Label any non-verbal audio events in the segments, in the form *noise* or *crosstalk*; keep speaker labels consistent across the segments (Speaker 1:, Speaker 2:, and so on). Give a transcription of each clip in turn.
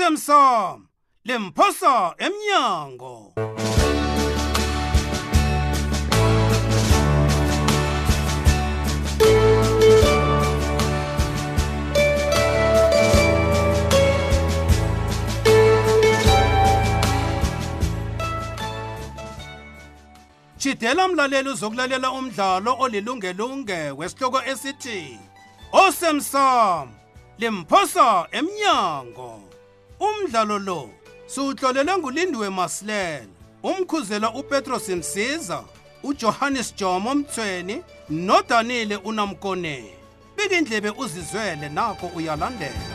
Speaker 1: usemsamo lemphosa emnyango Chidela mlaleli uzokulalela umdlalo olilungelunge wesihloko esithi Osemsamo limphosa emnyango. Umdlalo lo siwuhlolelwe ngulindwe Masilela, umkhuzela uPetros Msiza, uJohannes Jomo Mthweni noDanile uNamkone. Bika indlebe uzizwele nakho uyalandela.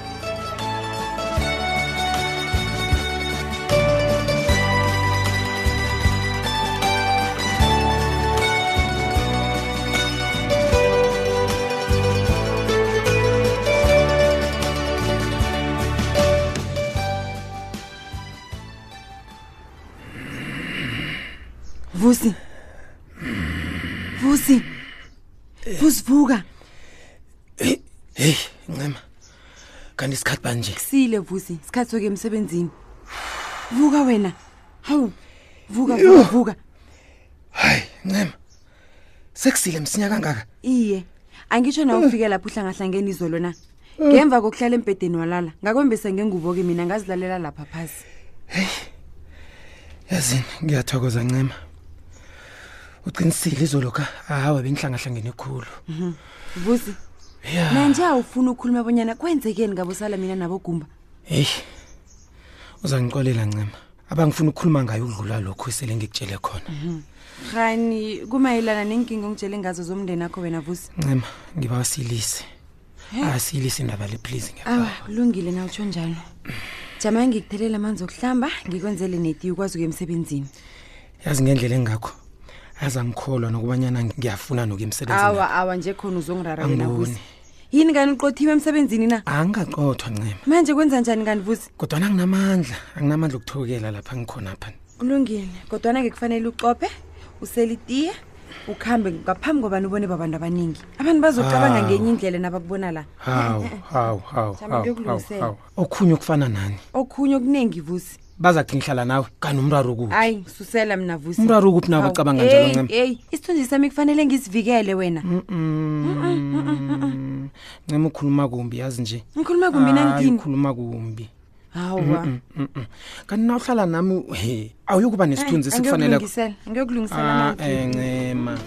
Speaker 2: Vusi. Vusi. Vusivuka.
Speaker 3: Hey, hey, Ncema. Kanti isikhathi banje.
Speaker 2: Sile Vusi, sikhathi soke emsebenzini. Vuka wena. Hawu. Vuka vuka vuka.
Speaker 3: Hayi, Ncema. Sekusile msinya kangaka.
Speaker 2: Iye. Angisho na ufike lapho uhlangahlangeni izolo na. Ngemva kokuhlala empedeni walala, ngakwembesa ngengubo ke mina ngazilalela lapha phansi.
Speaker 3: Yazini, ngiyathokoza Ncema. Uqinisile izolo ka. Hawa benhlanga hlangene khulu.
Speaker 2: Vusi.
Speaker 3: Yeah.
Speaker 2: Manje awufuna ukukhuluma abonyana kwenzekeni ngabosala mina nabogumba.
Speaker 3: Hey. Uzangixolela Ncema. Abangifuna ukukhuluma ngayo udlula lokho esele ngikutshele khona.
Speaker 2: Khani kumayelana nenkinga ongitshele ngazo zomndeni akho wena Vusi.
Speaker 3: Ncema, ngiba wasilise. Asilise indaba le please
Speaker 2: awa
Speaker 3: ngiyakubawa.
Speaker 2: kulungile na utsho njalo jama ngikuthelela amanzi okuhlamba ngikwenzele neti ukwazi ukuya emsebenzini
Speaker 3: Yazi ngendlela engakho. Azangikholwa nokubanyana ngiyafuna nokuyemsebenzini.
Speaker 2: awa awa nje khona uzongirara wena
Speaker 3: Angiboni.
Speaker 2: vusi yini kani uqothiwe emsebenzini na
Speaker 3: Angaqothwa Ncema.
Speaker 2: manje kwenza njani kani vusi
Speaker 3: kodwa anginamandla anginamandla okuthokela lapha ngikhona pha
Speaker 2: ulungile kodwana ke kufanele ucophe usele itiye ukuhambe ngaphambi kobani ubone babantu abaningi abantu bazocabanga
Speaker 3: Hawu.
Speaker 2: ngenye indlela nabakubona la
Speaker 3: hawu hawu hawu
Speaker 2: Jama
Speaker 3: hawu,
Speaker 2: ngiyokulungisela.
Speaker 3: hawu. okhunye okufana nani
Speaker 2: okhunye okuningi vusi
Speaker 3: bazathi ngihlala nawe kanti umraro kuphi
Speaker 2: hayi ngisusela mna vusi
Speaker 3: umraro kuphi
Speaker 2: Hawu,
Speaker 3: nabacabanga njalo
Speaker 2: eyi,
Speaker 3: ncema
Speaker 2: eyi isithunzi sami kufanele ngisivikele wena
Speaker 3: Mm, ncema ukhuluma kumbi yazi nje
Speaker 2: ngikhuluma kumbi
Speaker 3: Hayi,
Speaker 2: nangithini
Speaker 3: ukhuluma kumbi
Speaker 2: hawa
Speaker 3: Mm, mm. kanti na uhlala nami he awuyokuba nesithunzi esikufaneleko
Speaker 2: angiyokulungisela angiyokulungisela
Speaker 3: Ah,
Speaker 2: amanzi.
Speaker 3: eh, ncema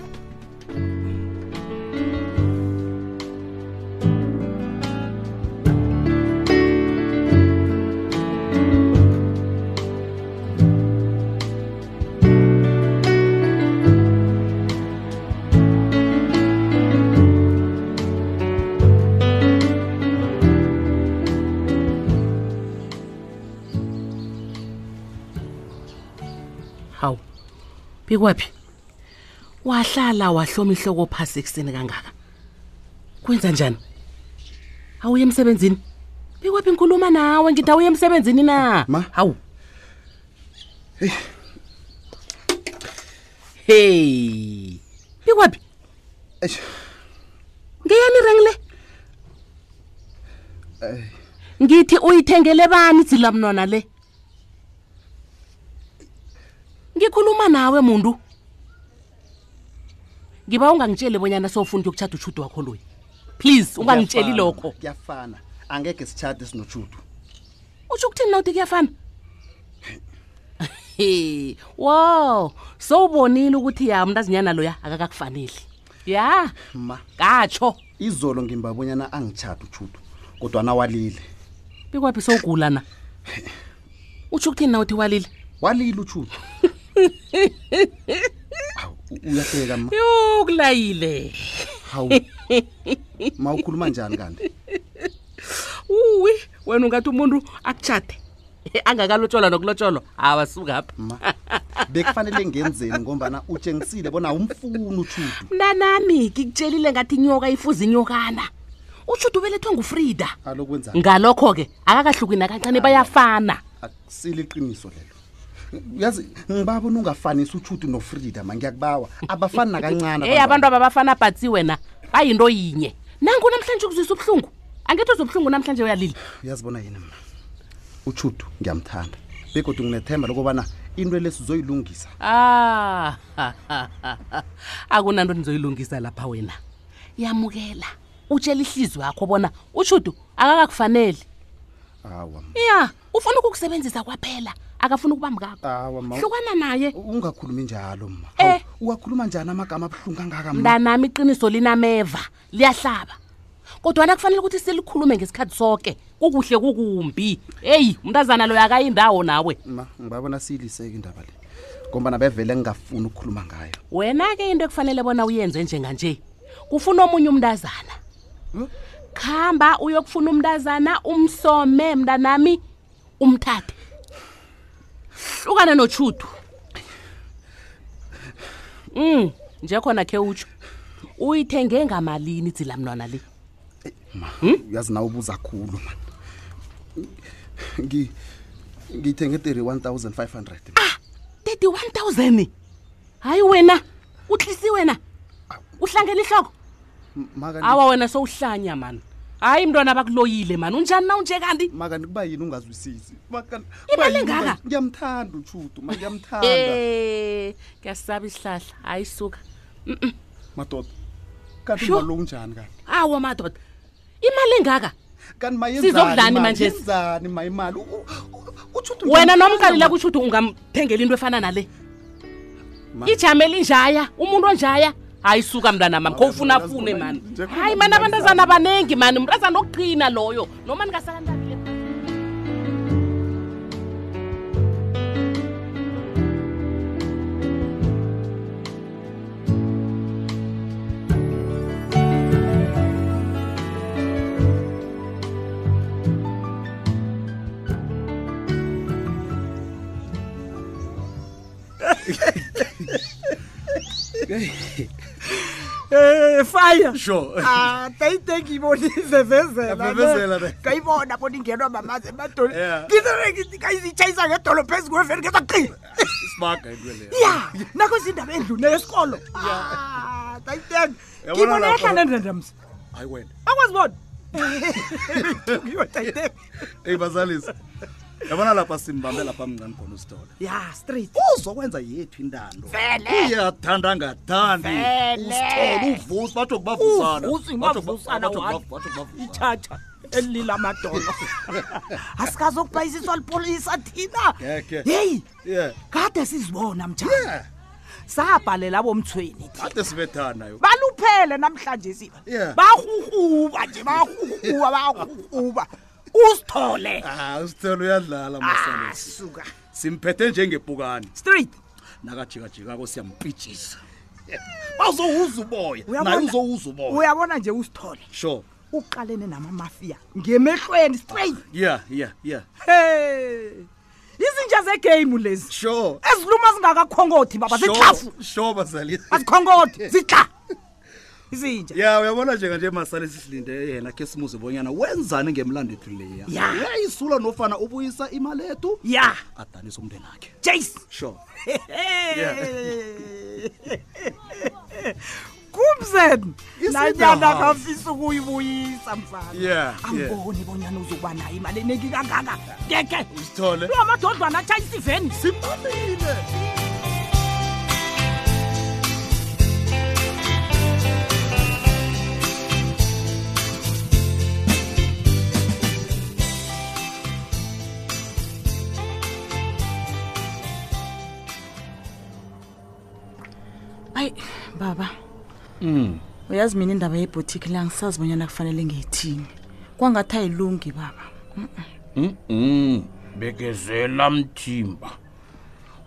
Speaker 4: hawu bikwaphi wahlala wahloma ihloko phasi ekuseni kangaka kwenza njani awuye emsebenzini bikwaphi ngikhuluma nawe ngithi awuye emsebenzini na
Speaker 5: Ma.
Speaker 4: hawu hey bikwaphi
Speaker 5: Eish.
Speaker 4: ngeyani ireng le ngithi uyithengele bani dzila mnwana le ngikhuluma nawe muntu ngiba ungangitsheli bonyana sofuna ukutshada utshudo wakho loyi please ungangitsheli
Speaker 5: Kuyafana,
Speaker 4: lokho
Speaker 5: kuyafana angeke sitshade sinotshudu
Speaker 4: utsho ukuthini nawuthi kuyafana He, wo sowubonile ukuthi ya mntazinyana loya akakakufaneli ya
Speaker 5: ma
Speaker 4: katsho
Speaker 5: izolo ngimbabonyana angitshade utshudu kodwa nawalile
Speaker 4: bikwaphi sowugula na utsho ukuthini nawuthi walile
Speaker 5: walile utshudu
Speaker 4: *laughs*
Speaker 5: Hawu, u- uyahleka ma
Speaker 4: yo kulayile
Speaker 5: hawu ma ukhuluma njani kanti
Speaker 4: uwi wena ungathi umuntu akutshade *laughs* angakalotsholwa nokulotsholwa awasukapha
Speaker 5: ma bekufanele ngenzeni ngombana utshengisile bona umfuni utshudu
Speaker 4: mnanami ngikutshelile ngathi inyoka ifuza inyokana ushuda ubelethwe ngufrida
Speaker 5: alokwenza
Speaker 4: ngalokho-ke akakahluki nakancane bayafana
Speaker 5: akusile iqiniso lelo uyazi ngibabona ungafanisi utshudu nofrida ma ngiyakubawa abafani nakancane
Speaker 4: eyi abantu ababafana bhatsi wena bayinto yinye nangu namhlanje ukuzwisa ubuhlungu angithi uzwa ubuhlungu namhlanje uyalile
Speaker 5: uyazibona yini mna utshudu ngiyamthanda begodwa nginethemba lokubana into le sizoyilungisa
Speaker 4: ah *laughs* ha, ha, ha, ha. akunanto ndizoyilungisa lapha wena yamukela utshela ihliziyo yakho bona ushudu akakakufaneli
Speaker 5: awa m-
Speaker 4: ya ufuna ukukusebenzisa kwaphela akafuni ukubambukakho
Speaker 5: awa ma
Speaker 4: hlukana naye
Speaker 5: ungakhulumi njalo ma
Speaker 4: Eh.
Speaker 5: Hawu, uwakhuluma njani amagama abuhlungu kangaka ma
Speaker 4: mntanami iqiniso linameva liyahlaba kodwana kufanele ukuthi silikhulume ngesikhathi sonke kukuhle kukumbi eyi umntazana loyo akayindawo nawe
Speaker 5: ma ngibabona siyiliseke indaba le ngombana bevele ngingafuni ukukhuluma ngayo
Speaker 4: wena-ke into ekufanele bona uyenze njenganje kufuna omunye umntazana khamba uyokufuna umntazana umsome mntanami umthathe hlukana notshudu um nje khona khe utsho uyithenge ngamalini dzila mntwana le
Speaker 5: Eh,
Speaker 4: Hmm?
Speaker 5: uyazi nawe ubuza khulu mani Ngi- ngiyithenge 31 500 ma.
Speaker 4: 31000 hayi wena utlisi wena uhlangela ihloko
Speaker 5: M- maka ni-
Speaker 4: awa wena sowuhlanya mani hayi mntwana bakuloyile mani unjani na unje kanti
Speaker 5: makani kuba yini ungazwisisi Makani, kuba yini
Speaker 4: Imali engaka?
Speaker 5: unga- ngiyamthanda utshudu ma ngiyamthanda
Speaker 4: Eh, ngiyasaba isihlahla hayi suka
Speaker 5: madoda kanti
Speaker 4: Sho.
Speaker 5: umalo unjani kanti
Speaker 4: awa madoda imali engaka
Speaker 5: kanti
Speaker 4: Sizokudlani manje?
Speaker 5: mayenzani ma imali U- u- u- utshudu
Speaker 4: wena
Speaker 5: ngiyamthanda,
Speaker 4: nomkalela
Speaker 5: ma.
Speaker 4: kusho ukuthi ungamthengela into efana nale
Speaker 5: Ma.
Speaker 4: ijameli njaya umuntu onjaya hayi suka mntana mami
Speaker 5: Mabeza,
Speaker 4: khowufunafune
Speaker 5: uyazi bona
Speaker 4: mani
Speaker 5: nje khona
Speaker 4: hayi mani
Speaker 5: umntazana.
Speaker 4: abantazana abaningi mani umntazana okuqina loyo noma ningasakantabile
Speaker 6: Eh, fire
Speaker 5: sure
Speaker 6: Ah, tayiteki ibona izevezela
Speaker 5: Yavezela, ne.
Speaker 6: ngayibona bona ingenwa mamazi emadoli
Speaker 5: Yeah.
Speaker 6: ngizitshayisa ngedolo phezu kweveni ngezaqina
Speaker 5: smaga into leyo
Speaker 6: ya nakho zindaba endluni yesikolo Ah, tayiteki
Speaker 5: Yabona
Speaker 6: ngibona
Speaker 5: lapha.
Speaker 6: yahlanendendamsa
Speaker 5: hayi wena
Speaker 6: akwazi *laughs* bona ngiyo tayiteki
Speaker 5: eyi bazalisi yabona lapha simbambe lapha mncane khona usitole
Speaker 6: ya straight
Speaker 5: uzokwenza yethu intando iyathanda ngathandi
Speaker 6: Vele.
Speaker 5: usitole uvusi batsho kubavusana
Speaker 6: uvusi
Speaker 5: Batsho
Speaker 6: mavusana
Speaker 5: kuba- batsho kuba- batsho
Speaker 4: *laughs*
Speaker 6: wami
Speaker 5: kubavusana.
Speaker 6: itshatsha elila
Speaker 5: *laughs*
Speaker 6: amadolo asikazokubhayisiswa lipolisa thina
Speaker 5: Ngeke.
Speaker 6: yeyi
Speaker 5: Yeah.
Speaker 6: kade sizibona mtshana
Speaker 5: Yeah.
Speaker 6: sabhalela bomthweni
Speaker 5: ade sibethana yo
Speaker 6: baluphele namhlanje si
Speaker 5: Yeah.
Speaker 6: bahuhuba nje bahuhuba bahuhuba usithole
Speaker 5: Ah, usitele uyadlala masalisi
Speaker 6: asuka
Speaker 5: simphethe njengebhukane
Speaker 6: straight
Speaker 5: nakajikajikako siyampitshisa bazowuza uboya naye
Speaker 6: Uyabona-
Speaker 5: uzowuza uboya
Speaker 6: uyabona nje usithole
Speaker 5: sure
Speaker 6: uqalene namamafia ngemehlweni straight
Speaker 5: yeah yeah yeah
Speaker 6: hey izinja zegame lezi
Speaker 5: sure
Speaker 6: eziluma zingakakhongothi baba zithafu
Speaker 5: sure sure bazalisi
Speaker 6: azikhongothi zitha izinja
Speaker 5: ya uyabona njenganje masalisi silinde yena khe simuze bonyana wenzani ngemlandethu leya
Speaker 6: Ya.
Speaker 5: uyayisula nofana ubuyisa imali ethu
Speaker 6: ya
Speaker 5: adanise umndeni akhe
Speaker 6: jace
Speaker 5: sure
Speaker 6: *laughs* kumzen
Speaker 5: Yes,
Speaker 6: nanyana
Speaker 5: Abraham.
Speaker 6: kafisa ukuyibuyisa mfana
Speaker 5: Yeah, yeah.
Speaker 6: angiboni bonyana uzokuba nayo imali eneki kangaka ngeke
Speaker 5: usithole
Speaker 6: lo madodlwana atshayisa iveni
Speaker 5: simamile
Speaker 7: hayi baba mm. uyazi mina indaba yebhotiki la ngisazi bonyana kufanele ngiyithini kwangathi ayilungi baba
Speaker 8: Mm, bekezela mthimba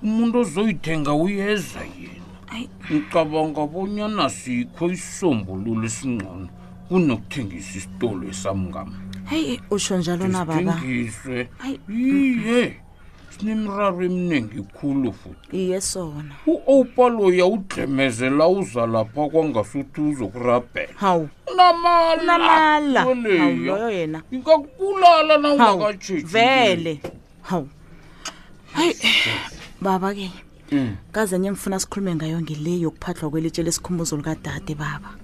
Speaker 8: umuntu ozoyithenga uyeza yena
Speaker 7: Ayi.
Speaker 8: ngicabanga bonyana sikho isombululo esingcono kunokuthengisa isitolo esamngama
Speaker 7: hayi eh, usho njalo na baba
Speaker 8: sithengiswe
Speaker 7: Ayi.
Speaker 8: iye sinemiraro eminingi khulu futhi
Speaker 7: iye sona
Speaker 8: u-opaloya udlemezela uza lapha kwangasuthi uzokurabhela
Speaker 7: hawu Unamala.
Speaker 8: unamala
Speaker 7: Hawu, loyo yena.
Speaker 8: ingakubulala
Speaker 7: hawu
Speaker 8: nawungakatshetshi
Speaker 7: vele hawu hayi baba ke kazenye ngifuna sikhulume ngayo ngile yokuphathwa kwelitshe lesikhumbuzo likadade baba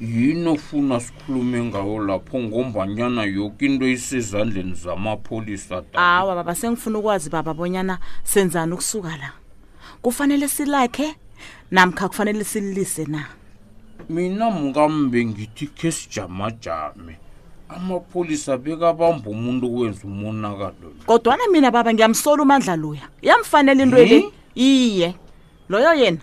Speaker 8: yini ofuna sikhulume ngayo lapho ngombanyana yoke into isezandleni zamapholisa dad
Speaker 7: awa baba sengifuna ukwazi baba bonyana senzani ukusuka la kufanele silakhe namkha kufanele sililise na
Speaker 8: mina mkambe ngithi khe sijamajame amapholisa bekabamba umuntu okwenza umonakalo lo
Speaker 7: kodwana mina baba ngiyamsola umandla luya yamfanele into ele
Speaker 8: Hmm?
Speaker 7: iye loyo yena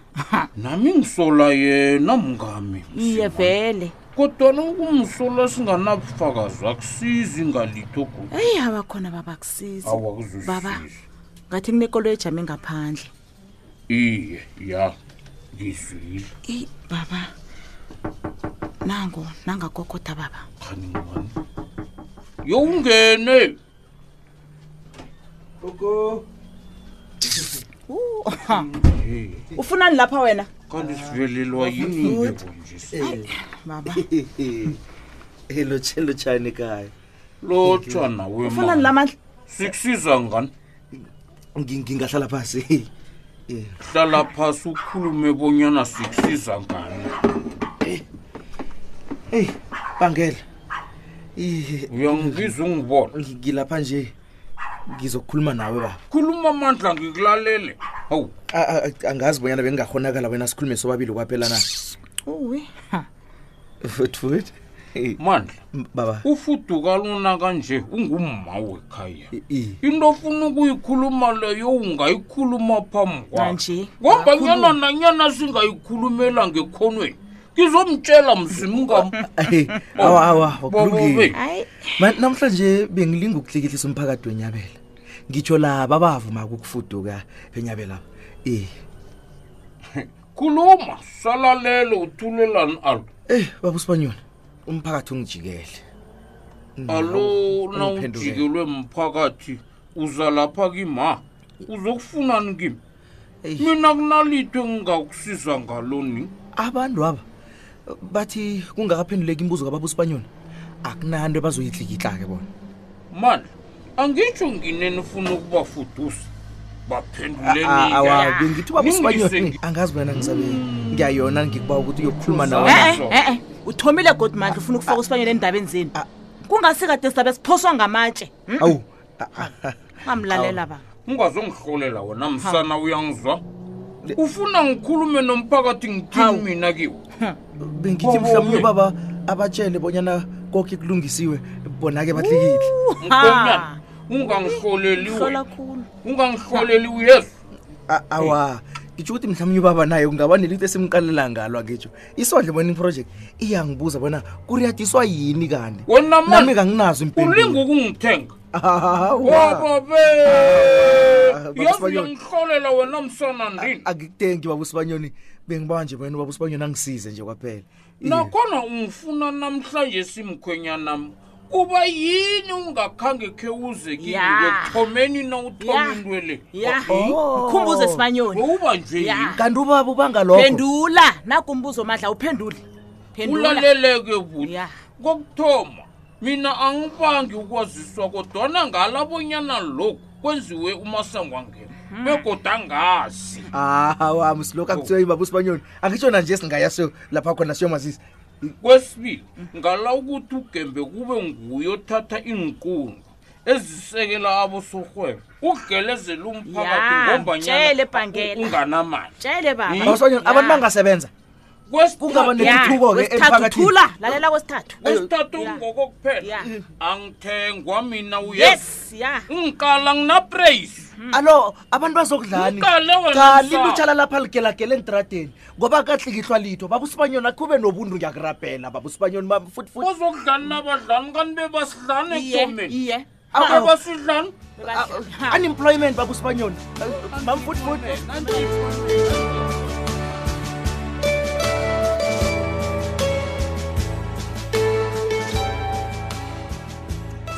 Speaker 8: nami ngisola yena mngami
Speaker 7: iye vele
Speaker 8: kodwana ukumsola singanabufakazi akusizi ngalitho gudu
Speaker 7: eyi abakhona baba kusiza baba
Speaker 8: awakuzusisa
Speaker 7: ngathi kunekolo ejame ngaphandle
Speaker 8: iye ya ngizwile
Speaker 7: eyi baba nango nangakokoda baba
Speaker 8: khani ngani yowungene
Speaker 7: ufunani lapha wena
Speaker 8: kanti sivelelwa yini-ke bonjesi
Speaker 7: baba
Speaker 9: elotshani kaya
Speaker 8: lotsha nawe
Speaker 7: ufunani
Speaker 8: ma
Speaker 7: lamandla
Speaker 8: sikusiza ngani
Speaker 9: Ngi- ngingahlala phasi
Speaker 8: hlala phasi ukhulume bonyana sikusiza ngani
Speaker 9: eyi bangela Eh,
Speaker 8: uyangibiza ungibona
Speaker 9: ngi- ngilapha nje ngizokukhuluma nawe baba
Speaker 8: khuluma amandla ngikulalele hawu
Speaker 9: A- a- a- angazi bonyana bengingahonakala wena sikhulume sobabili kwaphela na
Speaker 7: uwi
Speaker 9: futfut
Speaker 8: mandla
Speaker 9: baba
Speaker 8: ufuduka luna kanje ungumma wekhaya
Speaker 9: i- i-
Speaker 8: into ofuna ukuyikhuluma leyo ungayikhuluma phambi
Speaker 7: Nanje,
Speaker 8: kwakhe ngombanyana nanyana singayikhulumela ngekhonweni ngizomtshela mzimngam
Speaker 9: Eh, awa awa
Speaker 8: Babubi.
Speaker 9: akulungile
Speaker 7: hayi
Speaker 9: Man, namhlanje bengilinga ukuhlikihlisa umphakathi wenyabela ngitsho laba bavuma-ke ukufuduka enyabela eh
Speaker 8: khuluma salalele uthulelani alo
Speaker 9: Eh baba uSibanyoni umphakathi ungijikele.
Speaker 8: alo na
Speaker 9: ungiphendule.
Speaker 8: ujikelwe mphakathi uza lapha kimi uzokufunani kimi
Speaker 9: Eyi.
Speaker 8: mina kunalitho engingakusiza ngaloni
Speaker 9: Abantu aba bathi kungakaphenduleki imibuzo kababa uSibanyoni akunanto bazoyidlikihla ke bona.
Speaker 8: mandla angitsho ngineni ufuna ukubafudusa
Speaker 9: Ah,
Speaker 8: baphenduleni
Speaker 9: Awa bengithi baba uSibanyoni
Speaker 8: Ningise-
Speaker 9: angazi wena ngisabe ngiyayona ngikuba ukuthi uyokhuluma nawe.
Speaker 8: Uzala.
Speaker 7: e-e e-e eh, uthomile godi mandla ufuna ukufaka usibanyele endabeni zenu
Speaker 9: Ah.
Speaker 7: kungasikade sabe siphoswa ngamatshe hm?
Speaker 9: Awu ah, ah, ah.
Speaker 7: ungamlalela baba
Speaker 8: ungazongihlolela wona msana uyangizwa ufuna ngikhulume nomphakathi ngithini mina kiwo
Speaker 9: bengithi
Speaker 8: Bobo,
Speaker 9: mhlawumbe
Speaker 8: we.
Speaker 9: baba abatshele bonyana konke kulungisiwe bona ke bathikile.
Speaker 8: mkonyana ungangihloleli
Speaker 7: hlola
Speaker 8: wena
Speaker 7: khulu
Speaker 8: ungangihloleli uyesu
Speaker 9: A- awa ngitsho ukuthi mhlawumbe ubaba naye kungaba nelithi esimqalela ngalo akitsho isondle morning project iyangibuza bona kuriyadiswa yini kanti
Speaker 8: wena
Speaker 9: nami
Speaker 8: mani
Speaker 9: kanginazo
Speaker 8: ulinga
Speaker 9: impendulo
Speaker 8: ukungithenga
Speaker 9: Awa,
Speaker 8: wababe yazi
Speaker 9: Sibanyoni.
Speaker 8: uyangihlolela wena msana
Speaker 9: Ah,
Speaker 8: ndini
Speaker 9: angikutengi baba usibanyoni bengibawa nje bona ubaba usibanyoni angisize nje kwaphela
Speaker 8: nakhona ungifuna namhlanje simkhwenyanam kuba yini ungakhange khe uze
Speaker 7: Ya.
Speaker 8: kiniekuthomeni na
Speaker 7: Ya.
Speaker 8: uthoma intwele
Speaker 7: ya
Speaker 9: Oh.
Speaker 7: khumbuze sibanyoni
Speaker 8: wewubanjwe Eh? yini
Speaker 7: ya
Speaker 9: kanti ubaba ubanga lokho
Speaker 7: phendula nakumbuzo mandla uphendule phendula
Speaker 8: ulaleleke buti
Speaker 7: Ya.
Speaker 8: kokuthoma mina angibangi ukwaziswa kodwana ngalabonyana lokhu kwenziwe umasangwangena
Speaker 7: Hmm.
Speaker 8: begoda angazi
Speaker 9: awa msilokhu akuthiwe ibaba usibanyoni angitshona nje singaya siyo lapha khona siyomazisa
Speaker 8: kwesibili ngala ukuthi ugembe kube nguye othatha iinkungu ezisekela abosorhwebo ukugelezela umphakathi
Speaker 7: Ya, tjele
Speaker 8: ngombanyana
Speaker 7: Bhangela.
Speaker 8: u- unganamali
Speaker 7: tshele baba
Speaker 9: baba usibanyoni
Speaker 7: Ya.
Speaker 9: abantu bangasebenza kungaba
Speaker 8: Kwesithathu-
Speaker 9: ne- nentuthuko-ke emphakathini.
Speaker 7: thula lalela kwesithathu
Speaker 8: kwesithathu
Speaker 7: Ya.
Speaker 8: ngokokuphela
Speaker 7: Ya.
Speaker 8: angithengwa mina uyes
Speaker 7: yes Mhm. ya
Speaker 8: ngiqala nginapraise
Speaker 7: Hmm.
Speaker 9: alo abantu bazokudlani
Speaker 8: Uqale wena
Speaker 9: kali
Speaker 8: msana.
Speaker 9: lutshala lapha ligelagele entradeni ngoba katlikihlwa litho baba usibanyoni akube nobuntu ngiyakurabhela baba usibanyoni bam futhi futhi
Speaker 8: bazokudlani nabadlani kanti bebasidlani ekomeni
Speaker 7: iye
Speaker 9: Awu,
Speaker 8: bebasidlani
Speaker 9: unemployment baba usibanyoni mam futhi futhi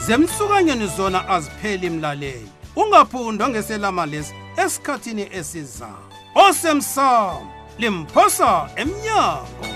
Speaker 1: zemsukanyeni zona azipheli mlaleli ungaphundwa ngeselama lesi esikhathini esizayo osemsamo limphosa emnyango